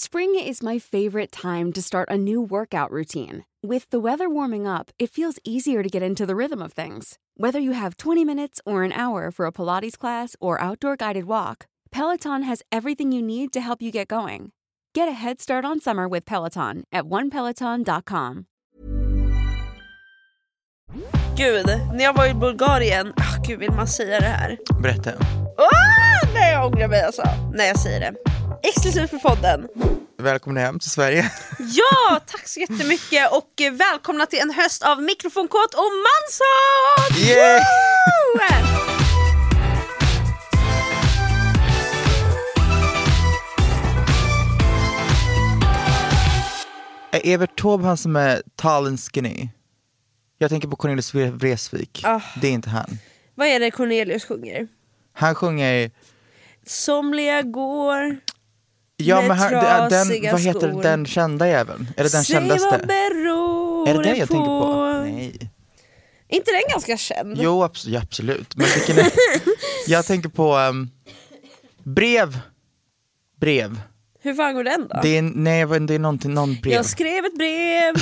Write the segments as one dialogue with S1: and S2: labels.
S1: Spring is my favorite time to start a new workout routine. With the weather warming up, it feels easier to get into the rhythm of things. Whether you have 20 minutes or an hour for a Pilates class or outdoor guided walk, Peloton has everything you need to help you get going. Get a head start on summer with Peloton at onepeloton.com.
S2: Gud, när jag var i Bulgarien, ah, gud vill man säga det här?
S3: Berätta.
S2: Ah, nej jag ångrar mig alltså, när jag säger det. Exklusivt för podden.
S3: Välkomna hem till Sverige.
S2: Ja, tack så jättemycket och eh, välkomna till en höst av mikrofonkåt och manshat!
S3: Yay!
S2: Woo!
S3: Är Evert Taube han som är tall and skinny? Jag tänker på Cornelius Vre- Vreeswijk.
S2: Ah.
S3: Det är inte han.
S2: Vad är det Cornelius sjunger?
S3: Han sjunger...
S2: Somliga går,
S3: Ja,
S2: Med
S3: men han, den, den,
S2: trasiga
S3: vad heter
S2: skor.
S3: den kända jäveln? Eller den
S2: säg vad
S3: kändaste?
S2: beror
S3: Är det den jag
S2: på?
S3: tänker på? Nej.
S2: Är inte den ganska känd?
S3: Jo, abs- ja, absolut. Men vilken är... jag tänker på... ehm, brev. Brev.
S2: Hur fan går den då?
S3: Det är, nej, men det är någonting, någon brev.
S2: Jag skrev ett brev.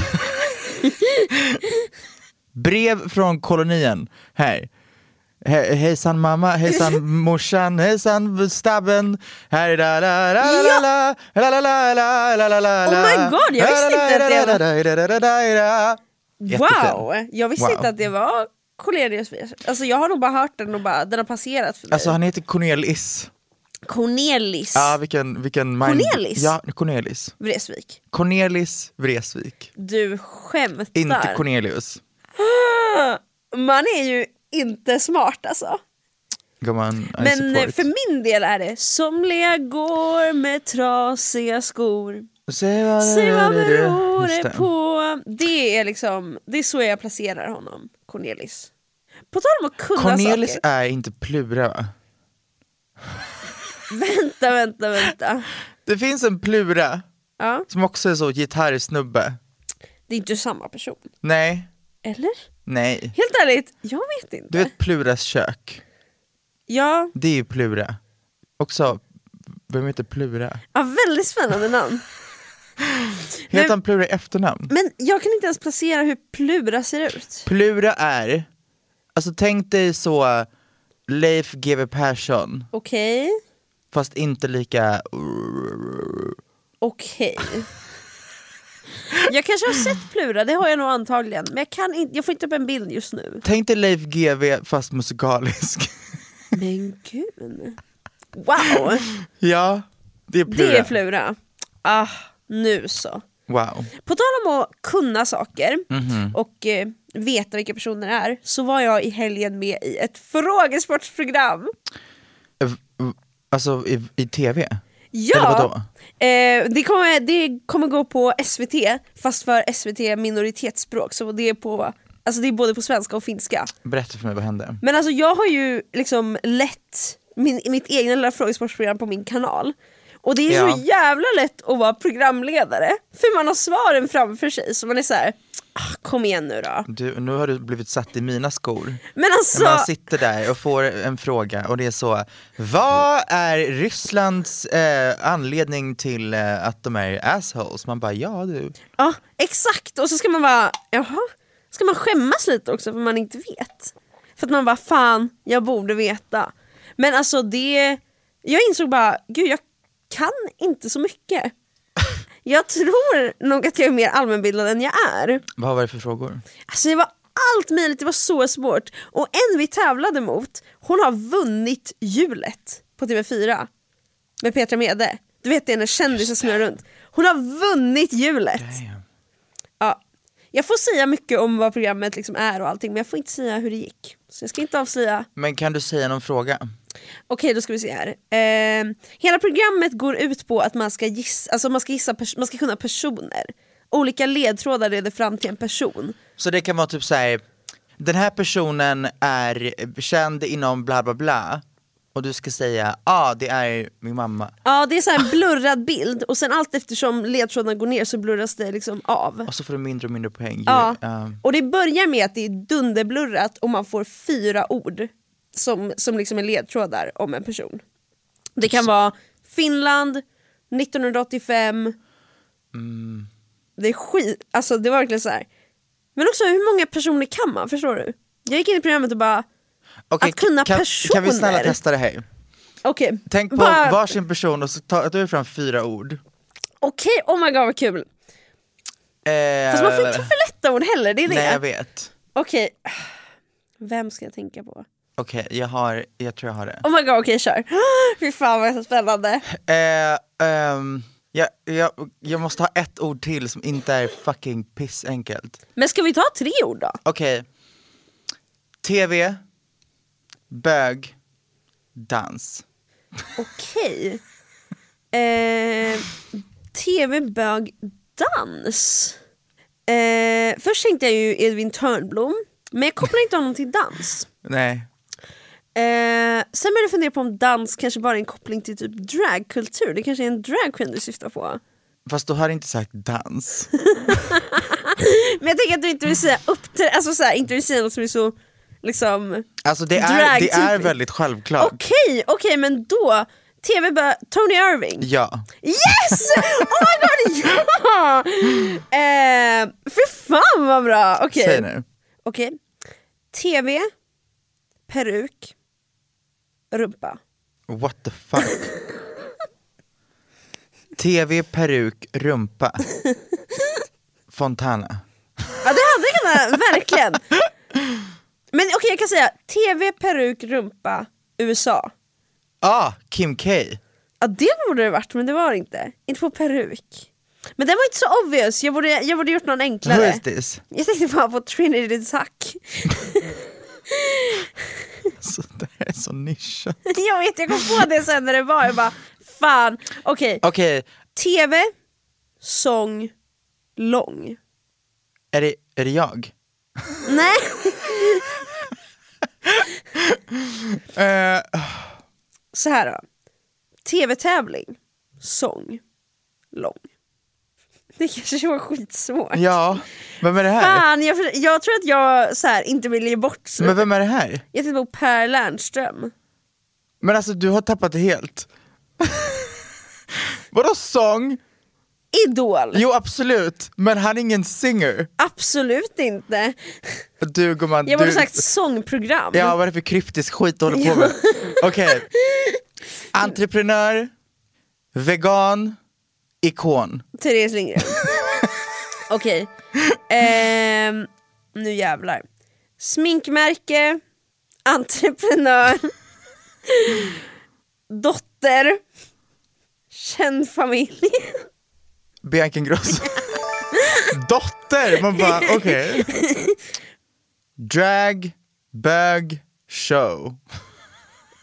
S3: Brev från kolonien. Här. He- hejsan mamma, hejsan morsan, hejsan stabben. Här la la la la la la la la la la la la la
S2: Oh my God, jag visste inte att det var-
S3: var...
S2: Wow! Jag visste
S3: Wow.
S2: inte att det var Cornelius Vreeswijk. Alltså jag har nog bara hört den och bara, den har passerat för mig.
S3: Alltså han heter Cornelis.
S2: Cornelis
S3: Ja, vilken... vilken mind-
S2: Cornelis?
S3: Ja, Cornelis.
S2: Vreeswijk.
S3: Cornelis Vreeswijk.
S2: Du skämtar.
S3: Inte Cornelius.
S2: Man är ju inte smart alltså.
S3: Gumman, I
S2: Men eh,
S3: support.
S2: för min del är det somliga går med trasiga skor.
S3: Säg vad
S2: Säg vad beror
S3: Just
S2: det på? Det är liksom, det är så jag placerar honom, Cornelis. På tal om att kunna
S3: Cornelis
S2: saker.
S3: är inte Plura va?
S2: Vänta, vänta, vänta.
S3: Det finns en Plura.
S2: Ja,
S3: Som också är så gitarrsnubbe.
S2: det är inte samma person.
S3: Nej,
S2: Eller?
S3: nej.
S2: Helt ärligt, jag vet inte.
S3: Du vet Pluras kök?
S2: Ja,
S3: Det är ju Plura. Också, vem heter Plura?
S2: ja, väldigt spännande namn.
S3: Heter han Plura i efternamn?
S2: Men jag kan inte ens placera hur Plura ser ut.
S3: Plura är, alltså tänk dig så Leif GW Persson,
S2: Okej,
S3: fast inte lika...
S2: okej. Jag kanske har sett Plura, det har jag nog antagligen. Men jag, kan inte, jag får inte upp en bild just nu.
S3: Tänk dig Leif GW fast musikalisk.
S2: Men gud. Wow,
S3: ja, det är Plura.
S2: det är Plura. Ah, nu så.
S3: Wow.
S2: På tal om att kunna saker
S3: Mhm.
S2: och eh, veta vilka personer är, så var jag i helgen med i ett frågesportsprogram.
S3: V- Alltså i, i tv? Eller vadå?
S2: Ja, eh, det, kommer, det kommer gå på SVT, fast för SVT minoritetsspråk. Så det är, på, alltså det är både på svenska och finska.
S3: Berätta för mig, vad hände?
S2: Men alltså jag har ju liksom lett min, mitt egna lilla frågesportprogram på min kanal. Och det är
S3: Ja.
S2: så jävla lätt att vara programledare, för man har svaren framför sig. Så man är så här, ah, kom igen nu då.
S3: Du, nu har du blivit satt i mina skor.
S2: Men alltså,
S3: Man sitter där och får en fråga och det är så, vad är Rysslands eh, anledning till eh, att de är assholes? Man bara, ja du.
S2: ja exakt. Och så ska man bara, jaha? Ska man skämmas lite också för man inte vet? För att man bara, fan, jag borde veta. Men alltså det, jag insåg bara, gud jag kan inte så mycket. Jag tror nog att jag är mer allmänbildad än jag är.
S3: Vad var det för frågor?
S2: Alltså det var allt möjligt, det var så svårt. Och en vi tävlade mot, hon har vunnit hjulet på TV4 med Petra Mede. Du vet det när kändisar snurrar runt. Hon har vunnit hjulet.
S3: Damn.
S2: Ja. Jag får säga mycket om vad programmet liksom är och allting men jag får inte säga hur det gick. Så jag ska inte avslöja.
S3: Men kan du säga någon fråga?
S2: Okej då ska vi se här. Eh, hela programmet går ut på att man ska gissa, alltså man ska, gissa pers- man ska kunna personer. Olika ledtrådar leder fram till en person.
S3: Så det kan vara typ såhär, den här personen är känd inom bla bla bla och du ska säga ja ah, det är min mamma
S2: Ja det är så här en blurrad bild och sen allt eftersom ledtrådarna går ner så blurras det liksom av.
S3: och så får du mindre och mindre poäng. Um,
S2: Ja.
S3: Ja. Ehm.
S2: Och det börjar med att det är dunderblurrat och man får fyra ord som, som liksom är ledtrådar om en person. Det kan vara Finland, 1985,
S3: Mm.
S2: det är skit, alltså det var verkligen så här. Men också hur många personer kan man? Förstår du? Jag gick in i programmet och bara,
S3: Okej,
S2: Att kunna
S3: kan, Kan vi snälla
S2: personer.
S3: testa det här?
S2: okej.
S3: Tänk på
S2: bara-
S3: varsin person och så tar du fram fyra ord.
S2: Okej, oh my god vad kul.
S3: Eh,
S2: Fast man får inte ta för lätta ord heller, det är det.
S3: Nej jag vet.
S2: Okej. Vem ska jag tänka på?
S3: Okej, jag, har, jag tror jag har det.
S2: Oh my god, okej kör. Fy fan vad spännande.
S3: Eh, ehm, jag, jag, jag måste ha ett ord till som inte är fucking pissenkelt.
S2: Men ska vi ta tre ord då?
S3: Okej. TV, bög, dans.
S2: Okej. Eh, TV, bög, dans. Eh, först tänkte jag ju Edvin Törnblom, men jag kopplar inte honom till dans.
S3: Nej.
S2: Eh, sen började jag fundera på om dans kanske bara är en koppling till typ dragkultur. Det kanske är en dragqueen du syftar på.
S3: Fast du har inte sagt dans.
S2: Men jag tänker att du inte vill säga uppträ- alltså så här, inte vill säga något som är så liksom
S3: Alltså det är, det är
S2: Dragtypiskt.
S3: väldigt självklart.
S2: Okej, okej men då, TV bör- Tony Irving.
S3: Ja.
S2: Yes! Oh my god, ja! Eh, fy fan vad bra! Okej,
S3: Säg nu.
S2: Okej. TV, peruk, rumpa.
S3: What the fuck? TV, peruk, rumpa. Fontana.
S2: Ja det hade jag kunnat, verkligen. Men okej jag kan säga, TV, peruk, rumpa, USA.
S3: Ah, Kim K.
S2: Ja det borde det varit men det var det inte. Inte på peruk. Men den var inte så obvious, jag borde, jag borde gjort någon
S3: Who
S2: enklare.
S3: is this?
S2: Jag tänkte bara på Trinity Tuck.
S3: Alltså, det här är så nischat.
S2: Jag vet, jag kom på det sen när det var. Jag bara, fan. Okej,
S3: Okej,
S2: tv, sång, lång.
S3: är, det, är det jag?
S2: Nej,
S3: Eh,
S2: så här då. Tv-tävling, sång, lång. Det kanske var skitsvårt.
S3: ja, vem är det här?
S2: Fan, jag, för- jag tror att jag så här, inte vill ge bort.
S3: Men vem är det här?
S2: Jag tänkte på Per Lernström.
S3: Men alltså du har tappat det helt. Vadå sång?
S2: Idol?
S3: Jo absolut, men han är ingen singer.
S2: Absolut inte.
S3: Du gumman,
S2: Jag borde
S3: du...
S2: sagt sångprogram.
S3: Ja, vad är det för kryptisk skit du håller på med? Okej. Entreprenör, vegan, ikon.
S2: Therese Lindgren. Okej. Ehm, nu jävlar. Sminkmärke, entreprenör, dotter, känd familj.
S3: Bianca Ingrosso. Dotter! Man bara, okej. Drag, bög, show.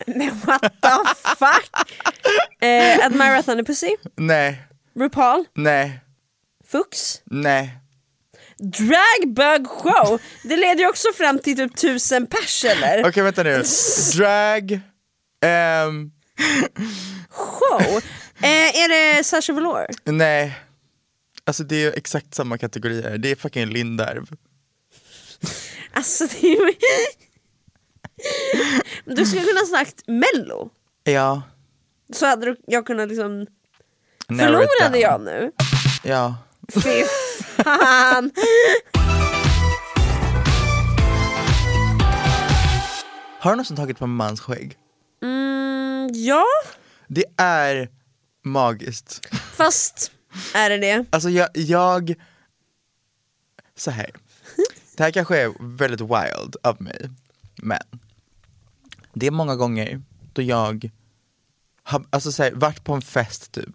S2: Men what the fuck? Eh, Admira Thunderpussy,
S3: Nej,
S2: RuPaul,
S3: nej,
S2: Fux,
S3: nej.
S2: Drag Bug Show. Det leder ju också fram till typ tusen pers eller?
S3: Okej, vänta nu. Drag, ehm,
S2: Show. Eh, är det Sasha Velour?
S3: nej. Alltså det är ju exakt samma kategorier. Det är fucking Lindarv.
S2: Alltså det är ju... Du skulle kunna sagt mello,
S3: Ja.
S2: så hade du, jag kunnat liksom...
S3: narrow it
S2: Förlorade
S3: down.
S2: jag nu?
S3: Ja.
S2: Fy fan!
S3: Har du någonsin tagit på en mans skägg?
S2: Mm, ja,
S3: Det är magiskt.
S2: fast Är det det?
S3: Alltså jag, jag så här. Det här kanske är väldigt wild av mig, men det är många gånger då jag har alltså så här, varit på en fest typ,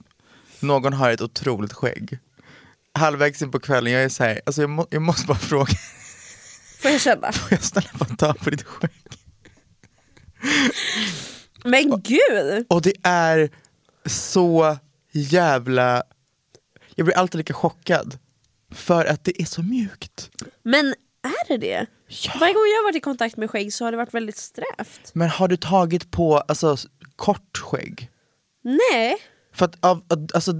S3: någon har ett otroligt skägg. Halvvägs in på kvällen, jag är så här, alltså jag, må, jag måste bara fråga,
S2: Får jag känna?
S3: får jag snälla bara ta på ditt skägg?
S2: Men gud!
S3: Och det är så jävla, jag blir alltid lika chockad. För att det är så mjukt.
S2: Men är det det? Varje gång jag har varit i kontakt med skägg så har det varit väldigt strävt.
S3: Men har du tagit på alltså, s- kort skägg?
S2: Nej.
S3: För att, av, att- alltså,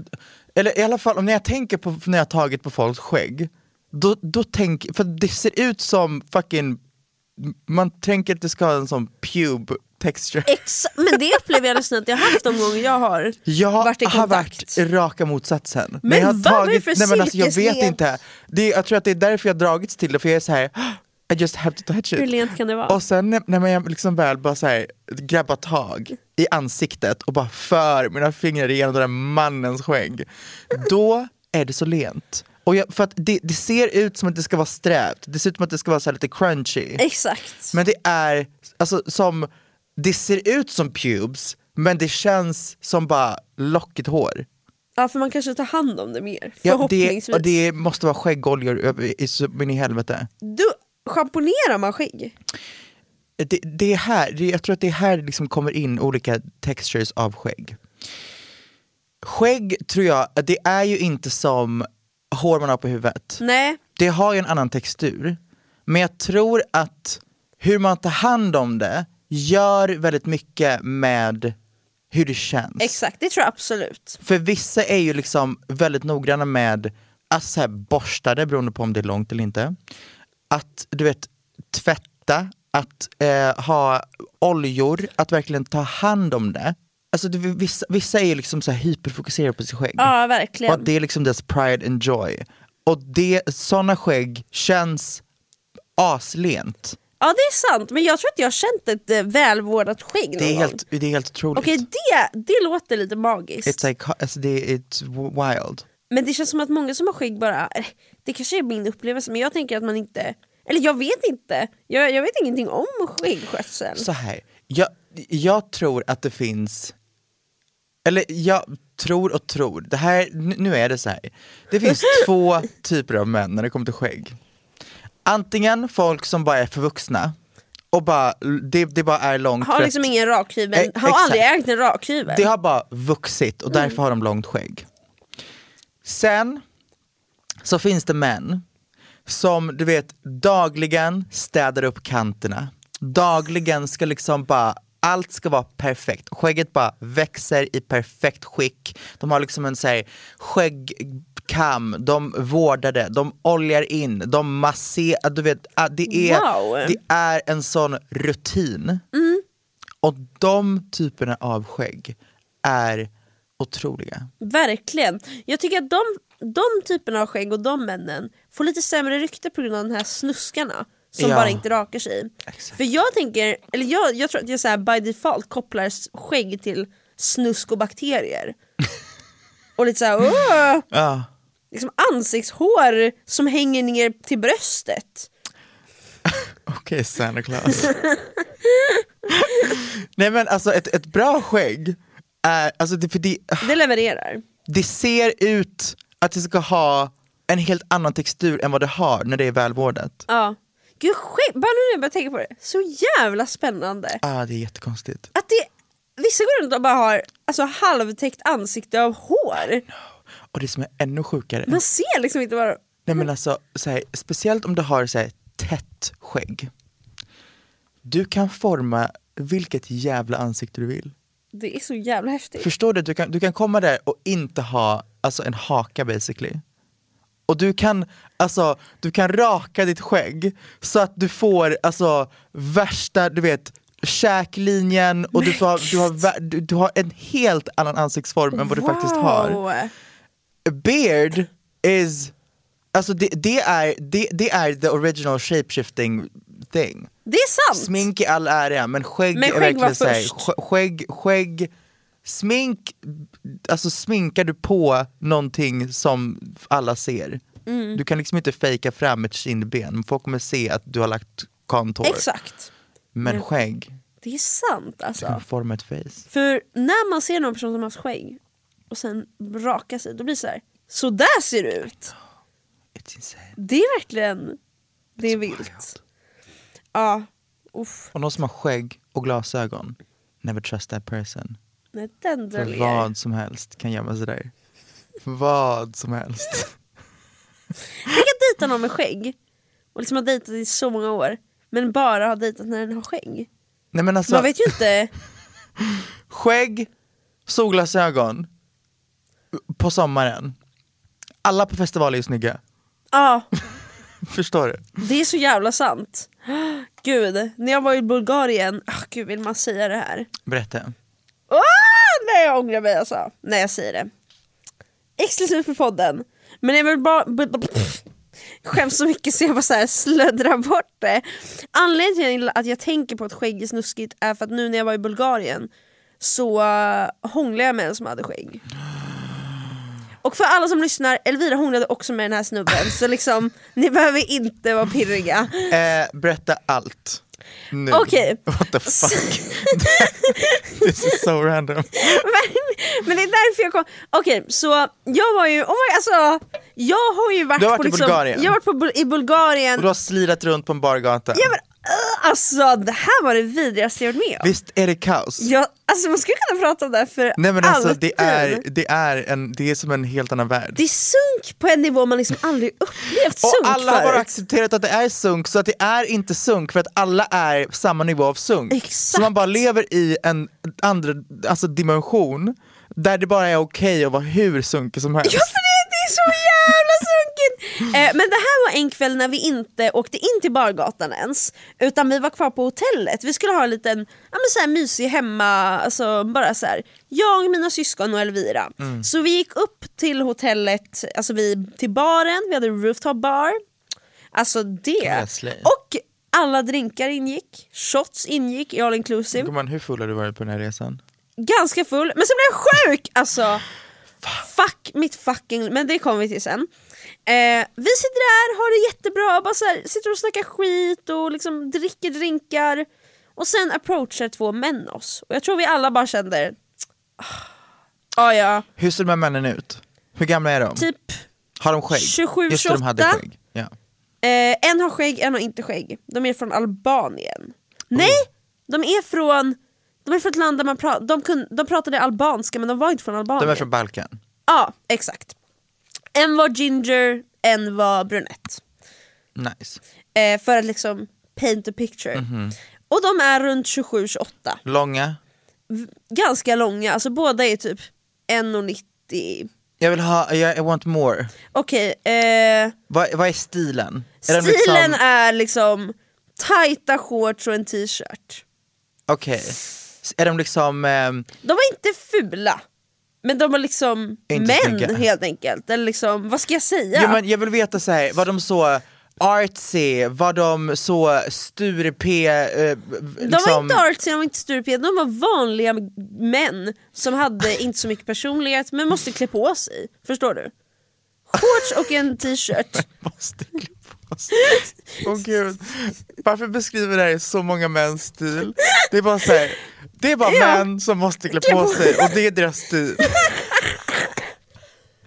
S3: eller i alla fall om när jag tänker på när jag har tagit på folks skägg, då, då tänk, för det ser ut som fucking, man tänker att det ska ha en sån pube texture.
S2: Ex- men det upplever jag nästan att jag har haft de gånger jag har
S3: Jag
S2: varit i
S3: har
S2: kontakt.
S3: varit raka motsatsen. När
S2: Men
S3: jag har
S2: vad? Vad är det för
S3: nej, men alltså, Jag vet
S2: silkesnet?
S3: inte. Det, är- jag tror att det är därför jag har dragits till det, för jag är så här. I just have to touch it.
S2: Hur lent kan det vara?
S3: Och sen när- när jag liksom väl bara så här, grabbar tag i ansiktet och bara för mina fingrar igenom den där mannens skägg, då är det så lent. Och jag, för att det, det ser ut som att det ska vara strävt, det ser ut som att det ska vara så här lite crunchy.
S2: Exakt.
S3: Men det är, alltså som, det ser ut som pubes, men det känns som bara lockigt hår.
S2: Ja för man kanske tar hand om det mer.
S3: Ja, det,
S2: Förhoppningsvis.
S3: och det måste vara skäggoljor över- i- så in i helvete.
S2: Du, schamponerar man skägg?
S3: Det, det är här, det, jag tror att det är här det liksom kommer in olika textures av skägg. Skägg tror jag, att det är ju inte som hår man har på huvudet.
S2: Nej.
S3: Det har ju en annan textur. Men jag tror att hur man tar hand om det gör väldigt mycket med hur det känns.
S2: Exakt, det tror jag absolut.
S3: För vissa är ju liksom väldigt noggranna med att så här borsta det beroende på om det är långt eller inte. Att du vet tvätta, att eh, ha oljor, att verkligen ta hand om det. Alltså det, vissa, vissa är ju liksom så här hyperfokuserade på sitt skägg.
S2: Ja
S3: Och
S2: verkligen.
S3: att det är liksom deras pride and joy. Och det, sådana skägg känns aslent.
S2: Ja det är sant, men jag tror att jag har känt ett eh, välvårdat skägg någon
S3: Det är
S2: gång.
S3: helt, det är helt otroligt.
S2: Okej det, det låter lite magiskt.
S3: It's like, alltså det, it's wild.
S2: Men det känns som att många som har skägg bara, eh, det kanske är min upplevelse men jag tänker att man inte, eller jag vet inte, jag, jag vet ingenting om skäggskötsel.
S3: Så här, jag, jag tror att det finns, eller jag tror och tror, det här, n- nu är det så här. Det finns två typer av män när det kommer till skägg. Antingen folk som bara är förvuxna och bara, det, det bara är långt.
S2: Har
S3: för
S2: liksom
S3: att-
S2: ingen rakhyvel,
S3: Eh,
S2: har
S3: exakt.
S2: aldrig ägt en rakhyvel.
S3: det har bara vuxit och därför har de långt skägg. Sen så finns det män som du vet dagligen städar upp kanterna. Dagligen ska liksom bara allt ska vara perfekt. Skägget bara växer i perfekt skick. De har liksom en så här, skäggkam, de vårdar det, de oljar in, de masserar. Du vet, ah, det är,
S2: Wow.
S3: det är en sån rutin. Och de typerna av skägg är otroliga.
S2: Verkligen. Jag tycker att de, de typerna av skägg och de männen får lite sämre rykte på grund av de här snuskarna som
S3: Ja.
S2: bara inte rakar sig. För jag tänker, eller jag, jag tror att jag så här by default kopplar s- skägg till snusk och bakterier. och lite såhär, åh!
S3: Ja.
S2: Liksom ansiktshår som hänger ner till bröstet.
S3: Okej, Santa Claus. Nej men alltså ett, ett bra skägg, är, alltså det, för det,
S2: Det levererar.
S3: det ser ut att det ska ha en helt annan textur än vad det har när det är välvårdat.
S2: Ja. Gud, skägg, bara nu när jag börjar tänka på det, så jävla spännande.
S3: Ah, det är jättekonstigt.
S2: Att det, vissa går runt och bara har alltså, halvtäckt ansikte av hår.
S3: Och det som är ännu sjukare,
S2: Man ser liksom inte vad
S3: Nej men alltså, så här, speciellt om du har så här, tätt skägg. Du kan forma vilket jävla ansikte du vill.
S2: Det är så jävla häftigt.
S3: Förstår du? Du kan, du kan komma där och inte ha alltså, en haka basically. Och du kan, alltså, du kan raka ditt skägg så att du får alltså, värsta, du vet, käklinjen och du, får, du, har, vä- du, du har en helt annan ansiktsform än vad du faktiskt har.
S2: Wow.
S3: Beard is, alltså det, det, är, det, det är the original shapeshifting thing.
S2: Det är sant!
S3: Smink i all ära, men skägg
S2: Men
S3: är
S2: skägg var
S3: verkligen såhär,
S2: först.
S3: skä- skägg, skägg smink, alltså sminkar du på någonting som alla ser.
S2: Mm.
S3: Du kan liksom inte fejka fram ett kindben, folk kommer se att du har lagt kontor.
S2: Exakt. Mm.
S3: Men skägg,
S2: Det är sant
S3: du kan
S2: alltså.
S3: forma ett face.
S2: För när man ser någon person som har haft skägg och sen rakar sig, då blir det så här. Så där ser det ut!
S3: It's insane.
S2: Det är verkligen... Det är
S3: It's
S2: vilt.
S3: wild.
S2: Ja, uff.
S3: Och någon som har skägg och glasögon, never trust that person.
S2: Nej, den
S3: För
S2: döljer.
S3: vad som helst kan gömma sig där. Vad som helst.
S2: Tänk att dejta någon med skägg och liksom har dejtat i så många år men bara har dejtat när den har skägg.
S3: Nej men alltså,
S2: Man vet ju inte.
S3: skägg, solglasögon, på sommaren. Alla på festivaler är snygga.
S2: Ja,
S3: Förstår du?
S2: det är så jävla sant. Gud, när jag var i Bulgarien, ah, gud vill man säga det här?
S3: Berätta.
S2: Ah, nej jag ångrar mig alltså, när jag säger det. Exklusivt för podden. Men jag vill bara... Skäms så mycket så jag bara så här slöddrar bort det. Anledningen till att jag tänker på att skägg är snuskigt är för att nu när jag var i Bulgarien så eh, hånglade jag med en som hade skägg. Och för alla som lyssnar, Elvira hånglade också med den här snubben så liksom, ni behöver inte vara pirriga.
S3: Eh, berätta allt. Nu.
S2: Okej.
S3: What the fuck? This is so random.
S2: men, men det är därför jag kom. Okej, så jag var ju, oh my, alltså, jag har ju varit,
S3: Du har varit
S2: på
S3: i
S2: liksom,
S3: Bulgarien.
S2: Jag har varit på, Bul- i Bulgarien,
S3: Och du har slirat runt på en bargata.
S2: ja, men, uh, alltså det här var det vidrigaste jag varit med om.
S3: Visst är det kaos?
S2: Jag, alltså man skulle kunna prata om det här för
S3: Nej men alltså
S2: alltid.
S3: det är, det, är en, det är som en helt annan värld.
S2: Det är sunk på en nivå man liksom aldrig upplevt
S3: Och
S2: sunk
S3: alla har bara
S2: förut.
S3: accepterat att det är sunk, så att det är inte sunk för att alla är samma nivå av sunk. Så
S2: Exakt.
S3: man bara lever i en andra, alltså dimension där det bara är okej att vara hur sunkig som helst.
S2: Ja för det, det är så jävla sunkigt! Eh, men det här var en kväll när vi inte åkte in till bargatan ens utan vi var kvar på hotellet. Vi skulle ha en liten ja, men så här mysig hemma, alltså bara så här. jag, mina syskon och Elvira. Så vi gick upp till hotellet, alltså vi, till baren, vi hade en rooftop bar. Alltså det.
S3: Gräslig.
S2: Och alla drinkar ingick, shots ingick i all inclusive.
S3: Gumman, hur full har du varit på den här resan?
S2: ganska full, men sen blev jag sjuk! Alltså, fuck mitt fucking... Men det kommer vi till sen. Eh, vi sitter där, har det jättebra, bara så här, sitter och snackar skit och liksom dricker drinkar. Och sen approachar två män oss. Och jag tror vi alla bara kände... Ah, ah, ja,
S3: Hur ser de här männen ut? Hur gamla är de?
S2: typ...
S3: Har de skägg?
S2: 27,
S3: Just det, de hade
S2: 28.
S3: skägg. Ja.
S2: Eh, en har skägg, en har inte skägg. De är från Albanien.
S3: Oh.
S2: Nej! De är från... De är från ett land där man pra- de, kun- de pratade albanska men de var inte från Albanien.
S3: De är från Balkan.
S2: Ja, exakt. En var ginger, en var brunett.
S3: Nice.
S2: Eh, för att liksom paint a picture.
S3: Mhm.
S2: Och de är runt 27-28.
S3: Långa.
S2: Ganska långa, alltså båda är typ 1,90.
S3: Jag vill ha, jag- I want more.
S2: Okej, eh,
S3: Vad, vad är stilen? Är
S2: stilen
S3: den liksom-
S2: är liksom tajta shorts och en t-shirt.
S3: Okej. Är de liksom... ehm,
S2: De var inte fula. Men de var liksom
S3: Inte
S2: män
S3: snygga.
S2: helt enkelt. Eller liksom, vad ska jag säga?
S3: Ja. men jag vill veta så här, var de så artsy, var de så Sturepé,
S2: De
S3: eh,
S2: var
S3: liksom-
S2: inte artsy, de var inte styrpeda, de var vanliga män som hade inte så mycket personlighet men måste klä på sig. Förstår du? Shorts och en t-shirt.
S3: Måste klä på sig. Åh gud, varför beskriver det här så många mäns stil? Det är bara så här, det är bara
S2: Ja.
S3: män som måste klä
S2: Klä
S3: på
S2: på-
S3: sig och det är deras stil.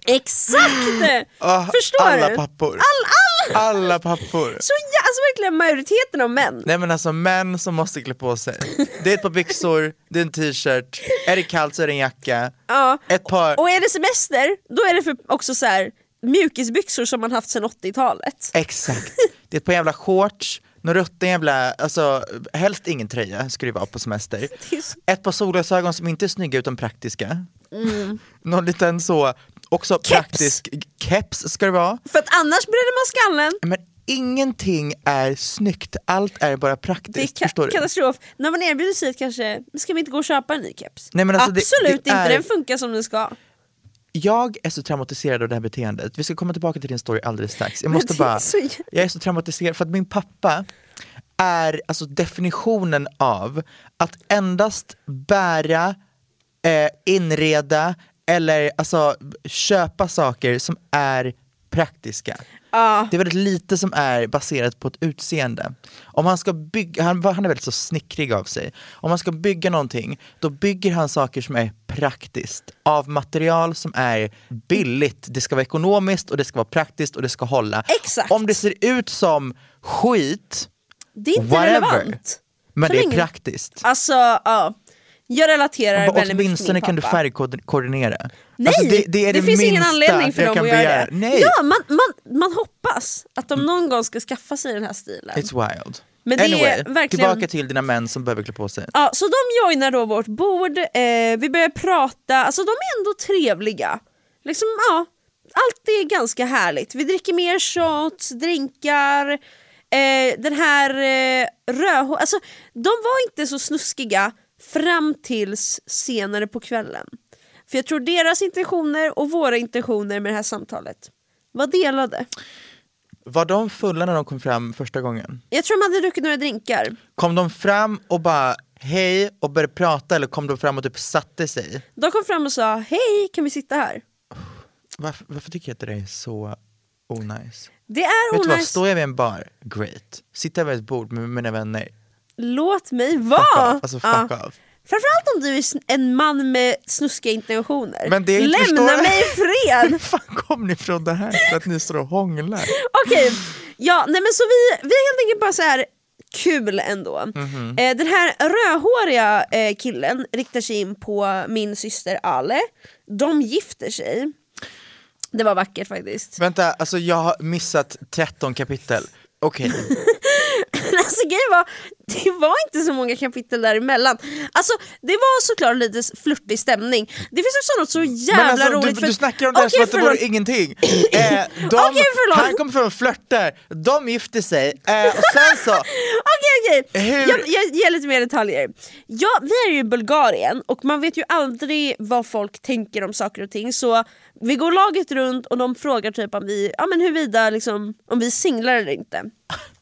S2: Exakt!
S3: Ah,
S2: Förstår
S3: alla Ah.
S2: du?
S3: pappor.
S2: All, all,
S3: Alla pappor.
S2: så ja, alltså verkligen majoriteten av män.
S3: Nej men alltså män som måste klä på sig. Det är ett par byxor, det är en t-shirt, är det kallt så är det en jacka.
S2: Ja.
S3: Ett par,
S2: Och är det semester, då är det för också så här mjukisbyxor som man haft sedan 80-talet.
S3: Eh. Exakt. Det är ett par jävla shorts, någon rutten jävla, alltså helst ingen tröja skulle det vara på semester.
S2: Det är så-
S3: Ett par solglasögon som inte är snygga utan praktiska.
S2: Mm.
S3: Någon liten så, också praktisk keps ska det vara.
S2: För att annars bränner man skallen.
S3: Men ingenting är snyggt, allt är bara praktiskt.
S2: Det är ka-
S3: förstår du?
S2: katastrof. När man erbjuder sig ett kanske, "Men ska vi inte gå och köpa en ny keps?
S3: Nej, men alltså det-
S2: Absolut
S3: det
S2: inte,
S3: är-
S2: den funkar som den ska.
S3: Jag är så traumatiserad av det här beteendet. Vi ska komma tillbaka till din story alldeles strax. Jag
S2: Men
S3: måste
S2: det är
S3: bara,
S2: så jä-
S3: jag är så traumatiserad för att min pappa är alltså definitionen av att endast bära eh, inreda eller alltså, köpa saker som är praktiska. Det är väldigt lite som är baserat på ett utseende. Om han, ska bygga, han, han är väldigt så snickrig av sig. Om han ska bygga någonting, då bygger han saker som är praktiskt. Av material som är billigt. Det ska vara ekonomiskt och det ska vara praktiskt och det ska hålla.
S2: Exakt.
S3: Om det ser ut som skit,
S2: Det är inte
S3: whatever.
S2: relevant.
S3: Men
S2: Så
S3: det är
S2: länge-
S3: praktiskt.
S2: Alltså, ja. Jag relaterar
S3: Och
S2: väldigt mycket till
S3: åtminstone
S2: min
S3: kan du
S2: pappa.
S3: färgkoordinera. Alltså,
S2: Nej, det, finns ingen anledning för
S3: jag
S2: dem
S3: kan
S2: att göra
S3: begära.
S2: det.
S3: Nej, Mm.
S2: Ja, man, man, man hoppas att de någon gång ska skaffa sig den här stilen.
S3: it's wild.
S2: Men det är
S3: anyway,
S2: verkligen-
S3: tillbaka till dina män som behöver klä på sig.
S2: Ja, så de joinar då vårt bord, eh, vi börjar prata, alltså de är ändå trevliga. Liksom, ja, allt är ganska härligt. Vi dricker mer shots, drinkar, eh, den här eh, rödhå- alltså de var inte så snuskiga fram tills senare på kvällen. För jag tror deras intentioner och våra intentioner med det här samtalet var delade.
S3: Var de fulla när de kom fram första gången?
S2: Jag tror de hade druckit några drinkar.
S3: Kom de fram och bara hej och började prata eller kom de fram och typ satte sig?
S2: De kom fram och sa hej, kan vi sitta här?
S3: Varför, varför tycker jag att det där är så onajs?
S2: Det är
S3: Vet du vad,
S2: onajs.
S3: står jag vid en bar, great. Sitter jag vid ett bord med mina vänner,
S2: Låt mig
S3: fuck
S2: vara!
S3: off. Alltså fuck
S2: Ja.
S3: off.
S2: Framförallt om du är sn- en man med snuskiga intentioner.
S3: Men det är inte-
S2: Lämna
S3: förstår-
S2: mig i fred!
S3: Hur fan kom ni från det här till att ni står och hånglar?
S2: Okej, ja, nej men så vi, vi är helt enkelt bara så här kul ändå.
S3: Mhm.
S2: eh, den här rödhåriga eh, killen riktar sig in på min syster Ale. De gifter sig. Det var vackert faktiskt.
S3: Vänta, alltså jag har missat 13 kapitel. Okej,
S2: Men alltså grejen var, det var inte så många kapitel däremellan. Alltså det var såklart lite flörtig stämning. Det finns också något så jävla
S3: men alltså,
S2: roligt
S3: du, du snackar om det här
S2: Okej,
S3: som att det vore
S2: förlåt.
S3: ingenting. Eh, de,
S2: Okej, förlåt.
S3: han kommer från flörtar, de gifter sig eh, och sen så,
S2: Okej okej,
S3: Hur-
S2: jag, jag ger lite mer detaljer. Ja, vi är ju i Bulgarien och man vet ju aldrig vad folk tänker om saker och ting så vi går laget runt och de frågar typ om vi, ja men huruvida liksom, om vi är singlar eller inte.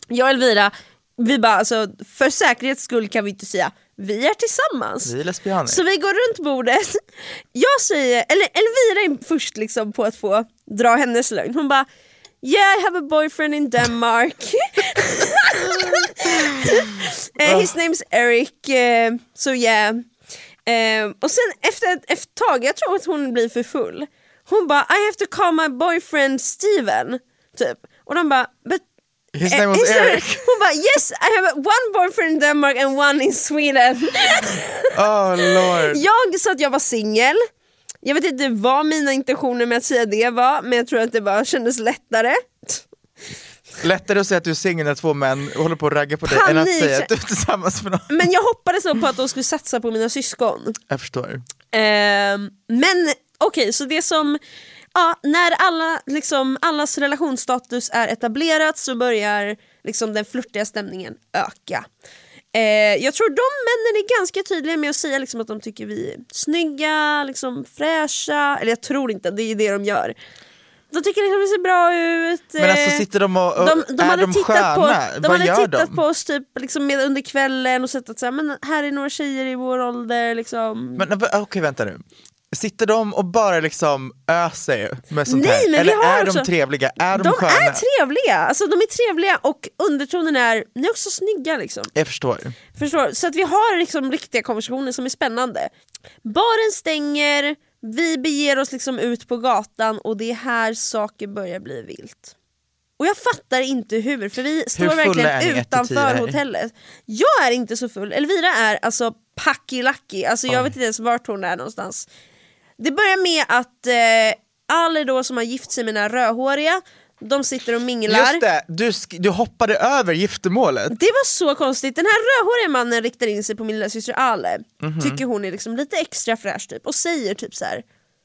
S2: Jag och Elvira, vi bara alltså för säkerhets skull kan vi inte säga vi är tillsammans.
S3: vi är lesbianer.
S2: Så vi går runt bordet. Jag säger, eller Elvira är först liksom på att få dra hennes lögn. Hon bara Yeah I have a boyfriend in Denmark. Eh, his name's Eric, eh, so yeah. Eh, och sen efter ett, efter ett tag, jag tror att hon blir för full. Hon bara I have to call my boyfriend Steven. Typ. Och de bara But
S3: His name was
S2: his name-
S3: Eric.
S2: Hon bara yes I have one boyfriend in Denmark and one in Sweden.
S3: Oh lord.
S2: Jag sa att jag var singel. Jag vet inte vad mina intentioner med att säga det var, men jag tror att det bara kändes lättare.
S3: Lättare att säga att du är singel när två män håller på att ragga på dig än att
S2: Panik.
S3: säga att du är tillsammans med någon.
S2: Men jag hoppades nog på att de skulle satsa på mina syskon.
S3: Jag förstår.
S2: Ehm, men okej, så det som... Ja, när alla, liksom, allas relationsstatus är etablerat så börjar liksom, den flörtiga stämningen öka. Eh, jag tror de männen är ganska tydliga med att säga liksom, att de tycker vi är snygga, liksom, fräscha. Eller jag tror inte, det är ju det de gör. De tycker liksom vi ser bra ut.
S3: Men alltså
S2: eh,
S3: sitter de och, och
S2: de, de
S3: är
S2: hade
S3: de
S2: tittat
S3: sköna?
S2: på, de
S3: Vad
S2: hade
S3: gör
S2: tittat
S3: de?
S2: på oss typ, liksom, med, under kvällen och sett att så här, men här är några tjejer i vår ålder. Liksom.
S3: Men v- okej vänta nu. Sitter de och bara liksom öser med sånt
S2: Nej,
S3: här?
S2: men vi
S3: Eller
S2: har
S3: är
S2: också-
S3: de trevliga? Är de,
S2: De
S3: sköna?
S2: är trevliga, alltså de är trevliga och undertonen är, ni är också snygga liksom.
S3: Jag förstår.
S2: Förstår? du? Så att vi har liksom riktiga konversationer som är spännande. Baren stänger, vi beger oss liksom ut på gatan och det är här saker börjar bli vilt. Och jag fattar inte hur, för vi står
S3: fulla är ni ett
S2: verkligen
S3: till
S2: utanför
S3: tio?
S2: hotellet. Jag är inte så full, Elvira är alltså packilacki, alltså jag vet inte ens vart hon är någonstans. Det börjar med att eh, alla då som har gift sig med den här rödhåriga, de sitter och minglar.
S3: Just det, du, sk- du hoppade över giftermålet.
S2: Det var så konstigt, den här rödhåriga mannen riktar in sig på min lillasyster Ale
S3: Mhm.
S2: Tycker hon är liksom lite extra fräsch typ och säger typ så här: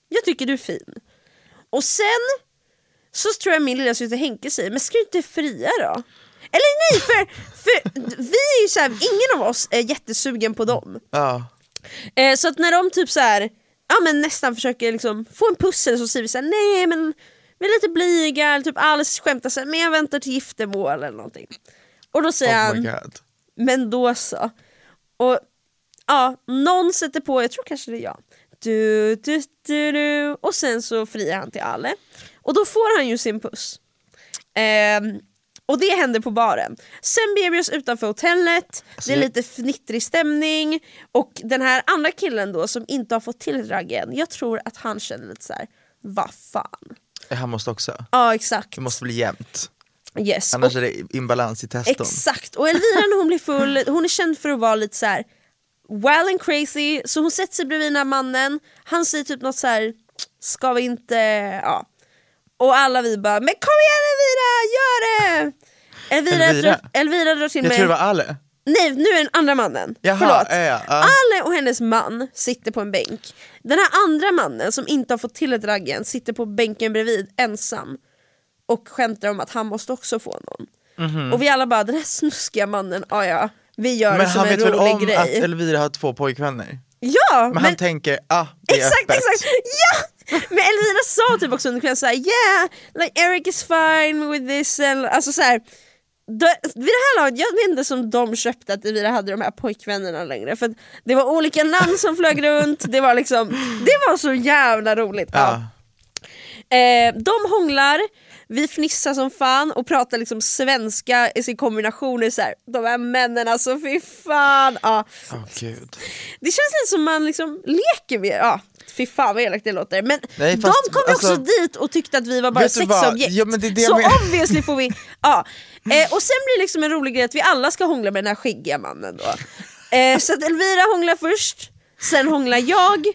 S2: Jag tycker du är fin Och sen så tror jag min lillasyster Henke säger Men ska du inte fria då? Eller nej för, för vi är ju såhär, ingen av oss är jättesugen på dem
S3: Ja.
S2: Eh, så att när de typ så här, ja, men nästan försöker liksom få en pussel så säger vi så här, nej men vi är lite blyga, eller typ Alice skämtar så här, men jag väntar till giftermål eller någonting. Och då säger
S3: Oh my
S2: han,
S3: god.
S2: men då så. Och ja, någon sätter på, jag tror kanske det är jag, du, du, du, du. Och sen så friar han till Ale. Och då får han ju sin puss. Ehm, och det händer på baren. Sen beger vi oss utanför hotellet, det är
S3: Alltså, jag-
S2: lite fnittrig stämning och den här andra killen då som inte har fått till raggen, jag tror att han känner lite så här: vad fan.
S3: Han måste också.
S2: Ja exakt.
S3: Det måste bli jämnt.
S2: Yes.
S3: Annars är det imbalans i teston.
S2: Exakt, och Elvira när hon blir full, hon är känd för att vara lite så här well and crazy, så hon sätter sig bredvid den här mannen, han säger typ något så här ska vi inte, ja. Och alla vi bara, men kom igen Elvira, gör det! Elvira,
S3: Elvira?
S2: Drar, Elvira drar till
S3: Jag
S2: mig,
S3: tror det var Ale.
S2: nej nu är den andra mannen,
S3: Jaha,
S2: förlåt.
S3: ja, ja, ja.
S2: Ale och hennes man sitter på en bänk, den här andra mannen som inte har fått till ett ragg än sitter på bänken bredvid ensam och skämtar om att han måste också få någon. Och vi alla bara, den här snuskiga mannen, ja ja, vi gör
S3: Mhm. Men
S2: det som
S3: han
S2: en
S3: vet väl om
S2: rolig
S3: att
S2: grej.
S3: Elvira har två pojkvänner?
S2: ja,
S3: Men, han tänker, ah det är
S2: exakt,
S3: öppet.
S2: exakt, ja! Men Elvira sa typ också under kvällen såhär, yeah, like Eric is fine with this, and, alltså såhär då- vid det här laget, jag vet inte som de köpte att Elvira hade de här pojkvännerna längre för att det var olika namn som flög runt, det var liksom, det var så jävla roligt. Ja.
S3: Ja.
S2: Eh, de hånglar, vi fnissar som fan och pratar liksom svenska i sin kombination. är Så här, de här männen alltså, fy fan. Ja.
S3: Åh gud.
S2: Det känns lite som man liksom leker med, ja. fy fan vad elakt det låter. Men
S3: Nej, fast,
S2: de kom ju också
S3: alltså-
S2: dit och tyckte att vi var bara
S3: Vet du vad?
S2: sexobjekt.
S3: Ja, men det är det
S2: så
S3: jag menar.
S2: obviously får vi, ja. Eh, och sen blir det liksom en rolig grej att vi alla ska hångla med den här skäggiga mannen då. Eh, så att Elvira hånglar först, sen hånglar jag.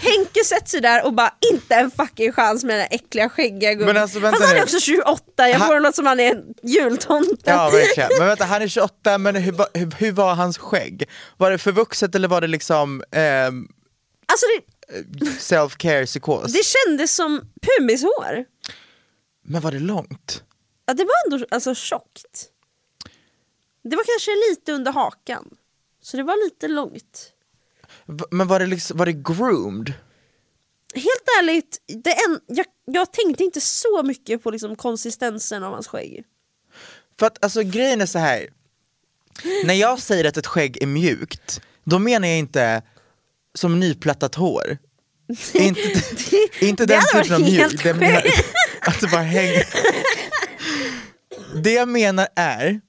S2: Henke sätter sig där och bara inte en fucking chans med den här äckliga skäggiga gubben.
S3: Men alltså, vänta
S2: Fast han är
S3: nu.
S2: också 28, jag
S3: Han-
S2: får honom som han är en jultomte.
S3: Ja verkligen. Men vänta, han är 28, men hur, va- hur, hur var hans skägg? Var det förvuxet eller var det liksom ehm,
S2: Alltså det,
S3: self-care psykos?
S2: det kändes som pumishår.
S3: Men var det långt?
S2: Ja, det var ändå alltså, tjockt. Det var kanske lite under hakan. Så det var lite långt.
S3: Va- Men var det, liksom, var det groomed?
S2: Helt ärligt, det en, jag, jag tänkte inte så mycket på liksom, konsistensen av hans skägg.
S3: För att alltså grejen är så här. när jag säger att ett skägg är mjukt, då menar jag inte som nyplattat hår. inte inte
S2: det
S3: den
S2: hade
S3: typen av
S2: varit helt
S3: mjukt. Jag menar att det bara hänger. Det jag menar är,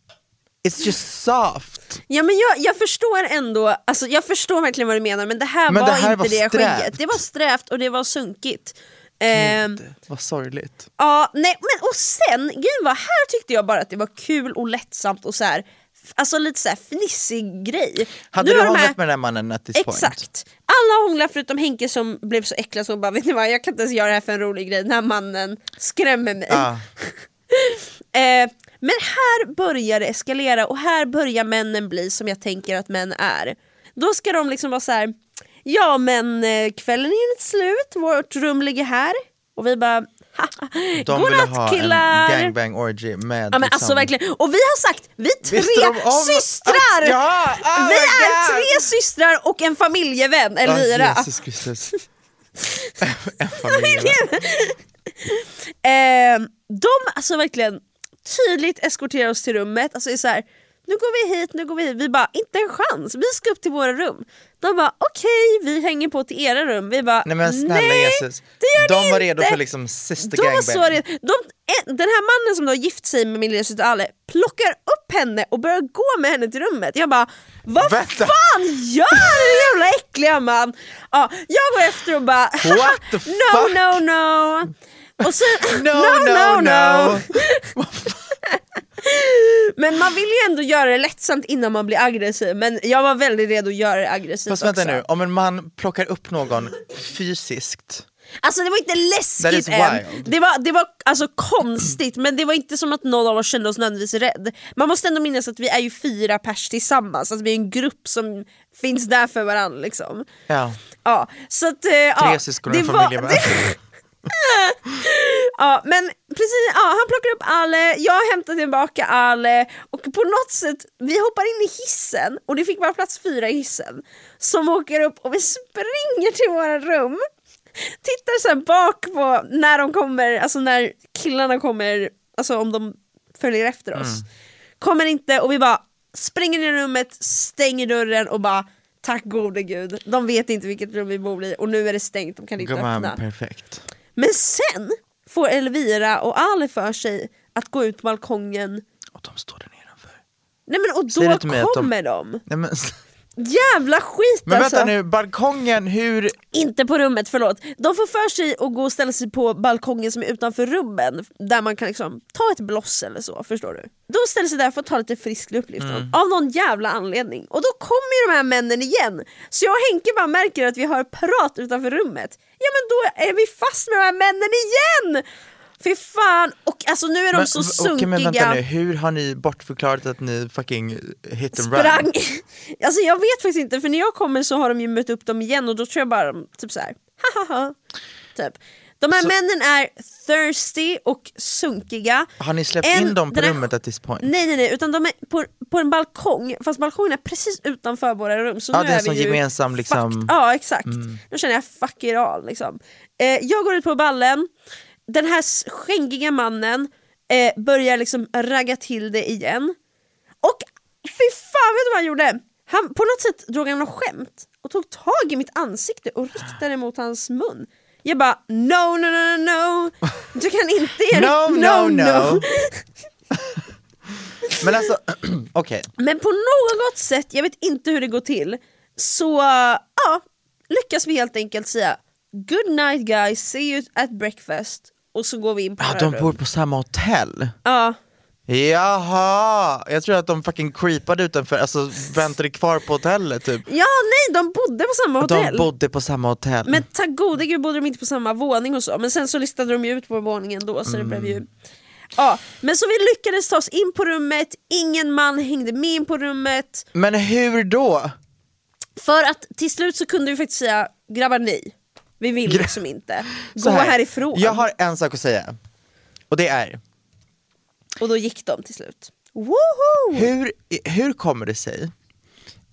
S3: it's just soft.
S2: Ja, men jag, jag förstår ändå, alltså, jag förstår verkligen vad du menar men det här
S3: Men
S2: var
S3: det här
S2: inte
S3: var
S2: det skägget.
S3: strävt.
S2: Det var strävt och det var sunkigt. Ehm,
S3: Vad sorgligt.
S2: Ja, nej, men och sen, grejen var, här tyckte jag bara att det var kul och lättsamt och så här, f- alltså lite så här fnissig grej.
S3: Hade
S2: Nu
S3: du
S2: har de här-
S3: hållit med den här mannen at this point?
S2: Exakt. Alla hånglar förutom Henke som blev så äcklad så hon bara vet ni vad jag kan inte ens göra det här för en rolig grej, den här mannen skrämmer mig.
S3: Ah,
S2: Eh, men här börjar det eskalera och här börjar männen bli som jag tänker att män är. Då ska de liksom vara så här. ja men eh, kvällen är inte slut, vårt rum ligger här. Och vi bara, haha,
S3: de ville ha
S2: godnatt killar!
S3: en gangbang orgy med liksom-
S2: Ja men alltså verkligen, och vi har sagt, vi är tre
S3: Visste de om-
S2: systrar!
S3: Att- Ja, oh
S2: vi
S3: my
S2: är
S3: God.
S2: tre systrar och en familjevän,
S3: Ah,
S2: Elvira.
S3: Jesus Kristus. en familj.
S2: Eh, de alltså verkligen tydligt eskorterar oss till rummet, alltså det är så här, nu går vi hit, nu går vi hit, vi bara inte en chans, vi ska upp till våra rum. De bara okej, vi hänger på till era rum, vi bara
S3: Nej men snälla Jesus,
S2: det gör
S3: de
S2: ni
S3: var redo
S2: inte.
S3: för liksom sister
S2: De var så
S3: gangbang.
S2: red- de, en- den här mannen som då har gift sig med min lillasyster Ale plockar upp henne och börjar gå med henne till rummet. Jag bara, vad
S3: Vänta.
S2: fan gör du jävla äckliga man? Ja, jag går efter och bara,
S3: What the
S2: no
S3: fuck?
S2: no no. Och sen,
S3: No, no, no.
S2: Men man vill ju ändå göra det lättsamt innan man blir aggressiv, men jag var väldigt redo att göra det aggressivt
S3: Fast vänta
S2: också.
S3: nu, om en man plockar upp någon fysiskt,
S2: Alltså det var inte
S3: That is
S2: läskigt än,
S3: wild.
S2: det var, det var alltså konstigt men det var inte som att någon av oss kände oss nödvändigtvis rädd. Man måste ändå minnas att vi är ju fyra pers tillsammans, alltså vi är en grupp som finns där för varandra. Liksom.
S3: ja.
S2: Ja, så att, eh, ja,
S3: tre syskon och
S2: det
S3: en
S2: var-
S3: familj.
S2: det- Ja, men precis, ja, han plockar upp Ale, jag hämtar tillbaka Ale och på något sätt, vi hoppar in i hissen och det fick bara plats fyra i hissen som åker upp och vi springer till våra rum tittar så här bak på när de kommer, alltså när killarna kommer, alltså om de följer efter oss kommer inte och vi bara springer in i rummet, stänger dörren och bara Tack gode gud. De vet inte vilket rum vi bor i och nu är det stängt, de kan inte
S3: Gumman,
S2: öppna.
S3: perfekt.
S2: Men sen får Elvira och Al för sig att gå ut balkongen.
S3: Och de står där nedanför.
S2: Nej men och
S3: Säg det
S2: då
S3: till mig att de-
S2: kommer de...
S3: Nej, men
S2: Alltså- Jävla skit
S3: men
S2: alltså!
S3: vänta nu, balkongen, hur...
S2: Inte på rummet, förlåt. De får för sig att gå och ställa sig på balkongen som är utanför rummen där man kan liksom ta ett bloss eller så, förstår du? De ställer sig där för att ta lite frisk luftluft
S3: Mm.
S2: av någon jävla anledning. Och då kommer ju de här männen igen. Så jag och Henke bara märker att vi hör prat utanför rummet. Ja men då är vi fast med de här männen igen! Fy fan! Och alltså nu är de
S3: Men,
S2: så
S3: v-
S2: sunkiga.
S3: okej, men vänta nu, hur har ni bortförklarat att ni fucking hit and
S2: sprang.
S3: run?
S2: Alltså jag vet faktiskt inte för när jag kommer så har de ju mött upp dem igen och då tror jag bara de typ så här. hahaha. Typ. De här
S3: Så-
S2: männen är thirsty och sunkiga.
S3: Har ni släppt
S2: En-
S3: in dem på
S2: den här-
S3: rummet at this point?
S2: Nej nej nej, utan de är på, på en balkong, fast balkongen är precis utanför våra rum. Så
S3: Ja,
S2: nu
S3: det är en
S2: vi
S3: sån
S2: ju
S3: gemensam,
S2: fucked.
S3: liksom-
S2: Ja exakt, nu känner jag fuck it all. Liksom. Eh, jag går ut på ballen, den här skänkiga mannen eh, börjar liksom ragga till det igen. Och fy fan vet du vad han gjorde? Han, på något sätt drog han något skämt och tog tag i mitt ansikte och riktade mot hans mun. Jag bara no, no, no, no, no. Du kan inte göra
S3: No, no, no. Men alltså, okej.
S2: Men på något sätt, jag vet inte hur det går till, så eh, ja, lyckas vi helt enkelt säga good night guys, see you at breakfast och så går vi in på
S3: Ja,
S2: våra
S3: de
S2: rum.
S3: bor på samma hotell?
S2: Ja.
S3: Jaha! Jag tror att de fucking creepade utanför, alltså väntade kvar på hotellet typ.
S2: ja, nej de bodde på samma hotell.
S3: De bodde på samma hotell.
S2: men tack gode gud bodde de inte på samma våning och så, men sen så listade de ju ut på våningen då så det
S3: Mm.
S2: blev ju Ja, men så vi lyckades ta oss in på rummet, ingen man hängde med in på rummet.
S3: Men hur då?
S2: För att till slut så kunde vi faktiskt säga grabbar nej, vi vill
S3: Gra-
S2: liksom inte. Gå
S3: Så här,
S2: härifrån.
S3: Jag har en sak att säga. Och det är,
S2: Och då gick de till slut. Woho!
S3: hur, hur kommer det sig?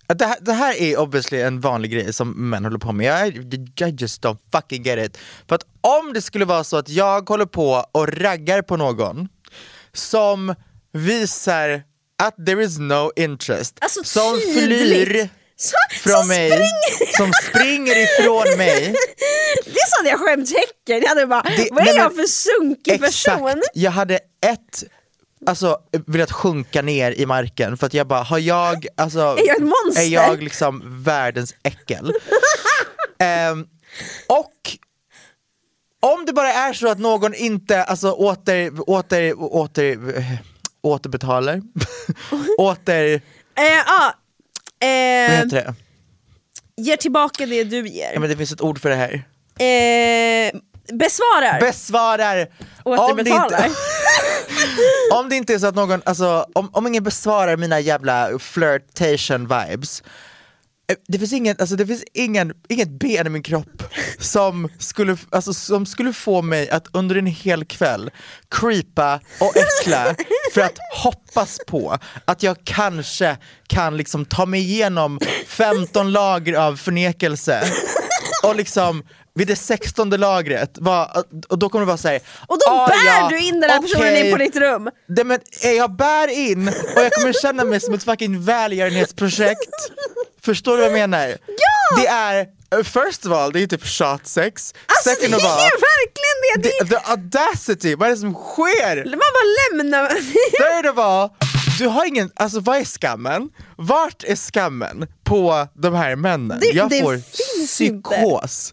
S3: att Det här, det här är obviously en vanlig grej som män håller på med, jag, I just don't fucking get it. För att om det skulle vara så att jag håller på och raggar på någon som visar att there is no interest,
S2: Alltså
S3: som
S2: tydligt.
S3: flyr
S2: Så,
S3: från
S2: så
S3: mig,
S2: springer-
S3: som springer ifrån mig.
S2: Det sa jag skämtecken, jag hade bara
S3: Det-
S2: vad är
S3: nej,
S2: jag
S3: men-
S2: för sunkig person?
S3: jag hade ett, alltså velat sjunka ner i marken för att jag bara, har jag, alltså, är
S2: jag ett monster?
S3: Är jag liksom världens äckel? Ehm, och om det bara är så att någon inte, alltså åter, åter, åter, eh, återbetalar, åter,
S2: Eh, ja.
S3: vad
S2: eh,
S3: heter det?
S2: ger tillbaka det du ger.
S3: Ja, men det finns ett ord för det här.
S2: Eh, besvarar.
S3: Besvarar! Om det,
S2: Återbetalar.
S3: inte, om det inte är så att någon, alltså om, om ingen besvarar mina jävla flirtation vibes eh, det finns, ingen, alltså det finns ingen, inget ben i min kropp som skulle, alltså som skulle få mig att under en hel kväll creepa och äckla för att hoppas på att jag kanske kan liksom ta mig igenom 15 lager av förnekelse och liksom vid det sextonde lagret, var, och då kommer det vara såhär
S2: Och då
S3: Ah,
S2: bär du in den här personen in på ditt rum.
S3: Nej men eh, jag bär in och jag kommer känna mig som ett fucking välgörenhetsprojekt. Förstår du vad jag menar? Ja! Det är, eh, first of all, det är typ shot sex.
S2: Alltså det är
S3: Second of all,
S2: ju verkligen det! det
S3: the, the audacity, vad är det som sker?
S2: man bara lämnar...
S3: Third of all, du har ingen, alltså vad är skammen? Vart är skammen på de här männen?
S2: Det-
S3: jag
S2: det
S3: får
S2: finns inte.
S3: psykos.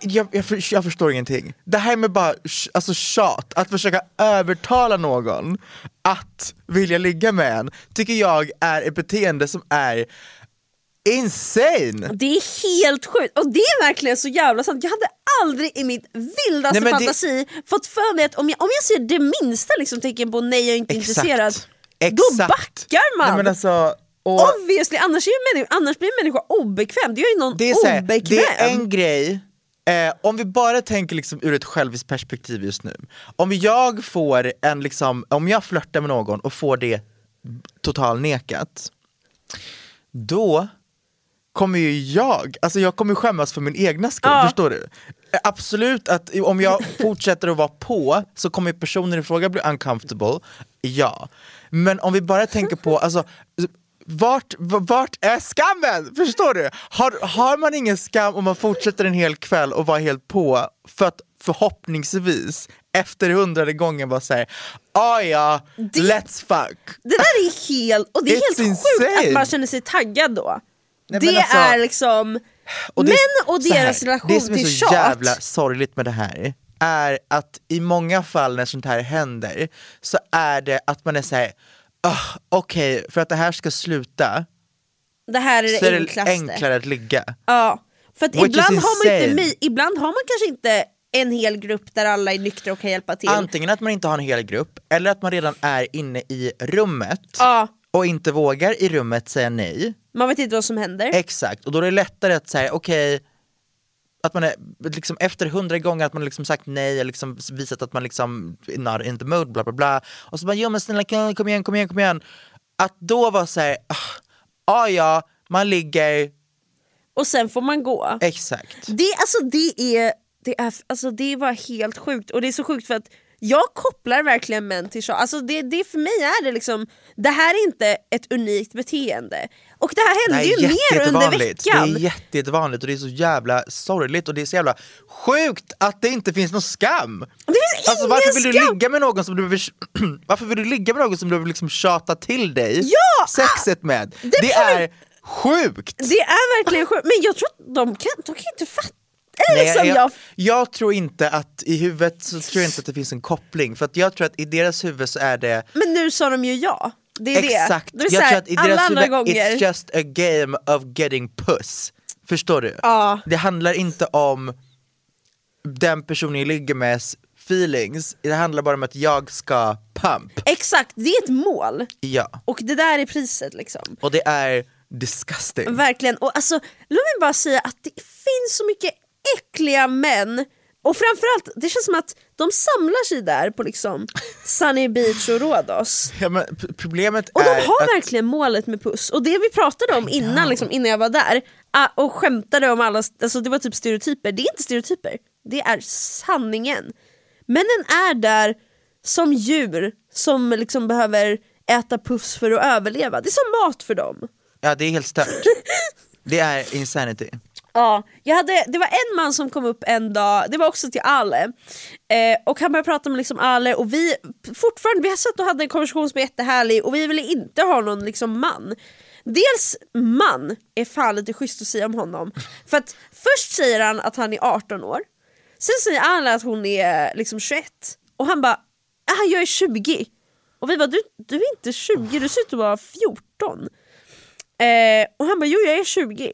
S3: Jag, jag, för- jag förstår ingenting. Det här med bara sh- alltså, tjat, att försöka övertala någon att vilja ligga med en, tycker jag är ett beteende som är insane!
S2: Det är helt sjukt och det är verkligen så jävla sant. Jag hade aldrig i mitt vildaste
S3: Nej, men det-
S2: fantasi fått för mig att om jag, om jag ser det minsta liksom, tecken på nej jag är inte intresserad,
S3: Exakt.
S2: då backar man!
S3: Nej, men alltså, och
S2: Obviously, annars, är ju människa, annars blir en människa obekväm. Det gör ju någon
S3: det, är så här,
S2: obekväm.
S3: det är en grej, eh, om vi bara tänker liksom ur ett själviskt perspektiv just nu. Om jag får en liksom, om jag flörtar med någon och får det total nekat, då kommer ju jag, alltså jag kommer skämmas för min egna skull, förstår du? Eh, Absolut att om jag fortsätter att vara på så kommer personen i fråga bli uncomfortable, ja. Men om vi bara tänker på, alltså vart, v- vart är skammen? Förstår du? Har, har man ingen skam om man fortsätter en hel kväll och vara helt på för att förhoppningsvis efter hundrade gången bara säga ah ja, let's fuck.
S2: Det där är helt, och det är
S3: It's
S2: helt sjukt
S3: insane.
S2: att man känner sig taggad då.
S3: Nej, men
S2: det
S3: alltså-
S2: är liksom
S3: Och det är-
S2: män och
S3: så här,
S2: deras relation
S3: Det som är
S2: till
S3: så
S2: tjat.
S3: jävla sorgligt med det här är att i många fall när sånt här händer så är det att man är såhär, oh, okej för att det här ska sluta
S2: Det här är det,
S3: så är det
S2: enklaste.
S3: enklare att ligga.
S2: Ja. För att
S3: Which is
S2: ibland har, man inte,
S3: insane.
S2: mi- ibland har man kanske inte en hel grupp där alla är nyktra och kan hjälpa till.
S3: Antingen att man inte har en hel grupp eller att man redan är inne i rummet
S2: Ja,
S3: och inte vågar i rummet säga nej.
S2: man vet inte vad som händer.
S3: Exakt, och då är det lättare att säga okej, att man är, liksom, efter hundra gånger att man liksom sagt nej eller liksom visat att man liksom not in the mood, bla bla bla. Och så bara, jo men snälla kom kom igen, kom igen, kom igen. Att då vara såhär, ah ja, man ligger,
S2: Och sen får man gå.
S3: exakt.
S2: Det, alltså, det, är, det, är, alltså, det var helt sjukt och det är så sjukt för att jag kopplar verkligen män till tjat. Alltså det, det för mig är det liksom, det här är inte ett unikt beteende. Och det här
S3: Det
S2: hände
S3: här är
S2: ju mer under
S3: jättejättevanligt. Det
S2: veckan.
S3: är jätte- jättevanligt och det är så jävla sorgligt och det är så jävla sjukt att det inte finns någon skam.
S2: Det finns
S3: Alltså
S2: ingen
S3: varför vill
S2: skam!
S3: du ligga med någon som du behöver, varför vill du ligga med någon som du behöver liksom tjata till dig
S2: Ja!
S3: sexet med? Det,
S2: kan vi-
S3: är sjukt!
S2: Det är verkligen sjukt, men jag tror att de kan, de kan inte fatta. Eller liksom,
S3: jag,
S2: jag,
S3: jag tror inte att i huvudet så tror jag inte att det finns en koppling för att jag tror att i deras huvud så är det
S2: men nu sa de ju ja. Det är
S3: exakt,
S2: det. det är så
S3: jag
S2: här,
S3: tror att i
S2: alla
S3: deras
S2: andra
S3: huvud
S2: gånger.
S3: it's just a game of getting puss. Förstår du?
S2: Ja.
S3: Det handlar inte om den personen jag ligger meds feelings, det handlar bara om att jag ska pump.
S2: Exakt, det är ett mål.
S3: Ja.
S2: Och det där är priset liksom.
S3: Och det är disgusting.
S2: Verkligen. Och alltså, låt mig bara säga att det finns så mycket äckliga män och framförallt, det känns som att de samlar sig där på liksom Sunny Beach och Rhodos.
S3: Ja, men p- problemet
S2: Och de
S3: är
S2: har
S3: att
S2: verkligen målet med puss. Och det vi pratade om innan, liksom, innan jag var där ah, och skämtade om alla, alltså det var typ stereotyper. Det är inte stereotyper, det är sanningen. Männen är där som djur som liksom behöver äta puss för att överleva. Det är som mat för dem.
S3: ja, det är helt stört. det är insanity.
S2: Ja, jag hade, det var en man som kom upp en dag, det var också till Ale, eh, och han började prata med liksom Ale och vi fortfarande, vi satt och hade en konversation som var jättehärlig och vi ville inte ha någon liksom man. Dels man är fan lite schysst att säga om honom, för att först säger han att han är 18 år, sen säger Ale att hon är liksom 21 och han bara ah, “jag är 20” och vi bara du, “du är inte 20, du ser ut att vara 14” eh, och han bara “jo jag är 20”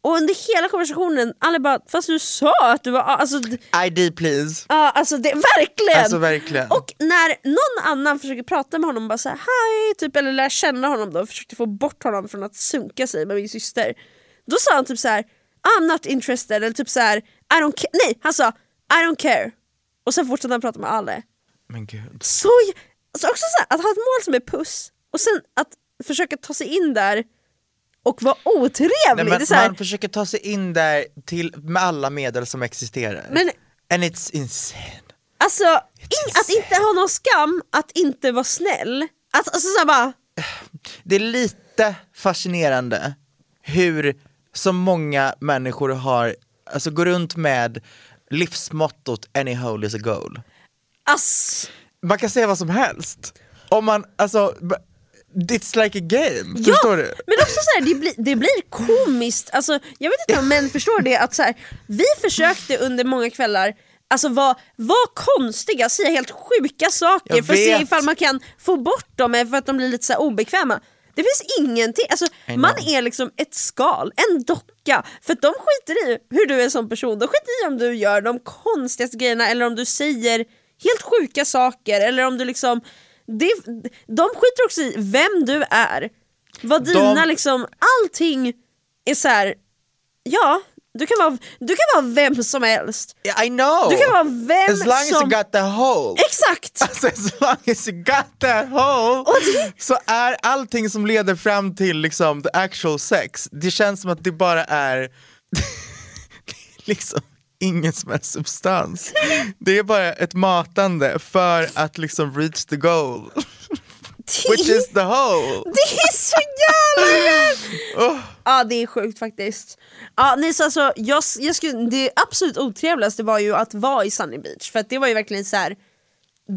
S2: Och under hela konversationen, alla bara fast du sa att du var alltså, d-
S3: ID please.
S2: ja, alltså det, verkligen!
S3: Alltså verkligen.
S2: Och när någon annan försöker prata med honom bara så här, hej, typ, eller lära känna honom då, försökte få bort honom från att sunka sig med min syster. Då sa han typ så här: I'm not interested, eller typ så här, I don't care. Nej, han sa I don't care. Och sen fortsatte han prata med Ale.
S3: Men gud.
S2: Så, j- alltså också så här, att ha ett mål som är puss och sen att försöka ta sig in där och vara otrevlig.
S3: Nej,
S2: det
S3: men
S2: är så här,
S3: Man försöker ta sig in där till, med alla medel som existerar.
S2: Men-
S3: And it's insane.
S2: Alltså, in, att inte ha någon skam, att inte vara snäll. Att, alltså så här bara,
S3: Det är lite fascinerande hur så många människor har, alltså går runt med livsmottot any hole is a goal.
S2: ass,
S3: Man kan säga vad som helst. Om man, alltså, b- it's like a game,
S2: ja,
S3: förstår du?
S2: Men också så här, det, blir, det blir komiskt, alltså, jag vet inte om män förstår det, att så här, vi försökte under många kvällar Alltså vara var konstiga, säga helt sjuka saker
S3: Jag
S2: för att se
S3: vet.
S2: ifall man kan få bort dem eh, för att de blir lite så här obekväma. Det finns ingenting, alltså, man är liksom ett skal, en docka. För att de skiter i hur du är som person, de skiter i om du gör de konstigaste grejerna eller om du säger helt sjuka saker eller om du liksom... Det, de skiter också i vem du är. Vad dina
S3: De-
S2: liksom, allting är så här. ja du kan, vara, du kan vara vem som helst.
S3: Yeah, I know!
S2: Du kan vara vem
S3: As long as
S2: som-
S3: you got the hole.
S2: Exakt!
S3: Alltså as long as you got that hole så är allting som leder fram till liksom the actual sex, det känns som att det bara är det är liksom ingen som helst substans. Det är bara ett matande för att liksom reach the goal, which is the hole.
S2: Det är så jävla rätt! Ja det är sjukt faktiskt. Ja, nej, så alltså, jag, jag skulle, det absolut otrevligaste var ju att vara i Sunny Beach för att det var ju verkligen så här.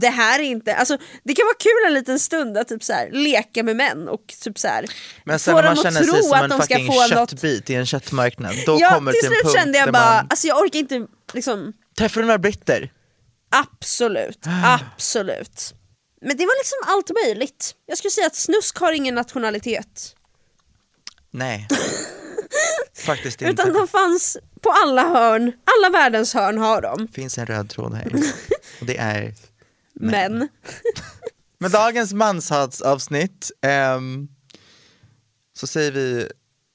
S2: Det här är inte, alltså det kan vara kul en liten stund att typ så här, leka med män och typ så här,
S3: Men sen
S2: få
S3: när man
S2: dem att
S3: känner sig
S2: tro
S3: som
S2: att
S3: en
S2: de ska
S3: fucking
S2: få något.
S3: köttbit i en köttmarknad, då
S2: Ja,
S3: kommer
S2: till
S3: till en punkt
S2: slut kände jag
S3: där
S2: bara,
S3: man
S2: alltså jag orkar inte liksom
S3: träffar du några britter.
S2: Absolut, absolut. Men det var liksom allt möjligt. Jag skulle säga att snusk har ingen nationalitet.
S3: Nej, faktiskt inte.
S2: Utan de fanns på alla hörn, alla världens hörn har de.
S3: finns en röd tråd här. Och det är...
S2: Men,
S3: Med dagens manshatsavsnitt ehm, så säger vi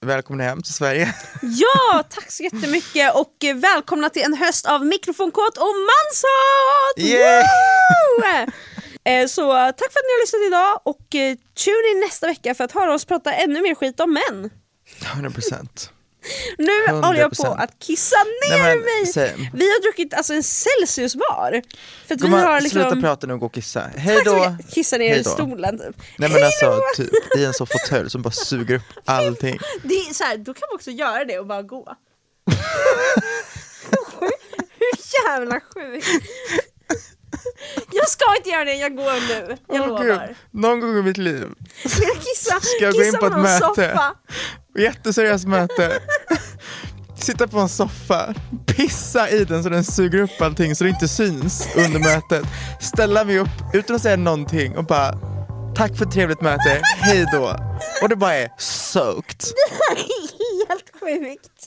S3: välkomna hem till Sverige.
S2: ja, tack så jättemycket och eh, välkomna till en höst av mikrofonkåt och manshat!
S3: Yay!
S2: Woo! Eh, Så eh, tack för att ni har lyssnat idag och eh, tune in nästa vecka för att höra oss prata ännu mer skit om män.
S3: 100 procent.
S2: Nu håller jag på
S3: 100%.
S2: att kissa ner
S3: Nej, men,
S2: mig!
S3: same.
S2: Vi har druckit alltså en Celsius var. För att vi har
S3: Gumman,
S2: liksom...
S3: sluta prata nu och gå och kissa. Hej
S2: Tack så
S3: då!
S2: mycket. Kissa ner
S3: Hej
S2: i
S3: då.
S2: stolen typ.
S3: Nej men
S2: Hej
S3: alltså,
S2: då!
S3: typ, i en sån fåtölj som bara suger upp allting.
S2: Det är så här, då kan man också göra det och bara gå. Hur jävla sjukt? Jag ska inte göra det, jag går nu. Jag
S3: Åh, gud.
S2: lovar.
S3: Någon gång i mitt liv.
S2: Vill jag kissa,
S3: Ska jag gå in
S2: kissa
S3: på ett
S2: någon
S3: möte?
S2: soffa?
S3: Jätteseriöst möte. Sitta på en soffa, pissa i den så den suger upp allting så det inte syns under mötet. Ställa mig upp utan att säga någonting och bara tack för ett trevligt möte, hej då. Och det bara är soaked.
S2: Det är helt sjukt.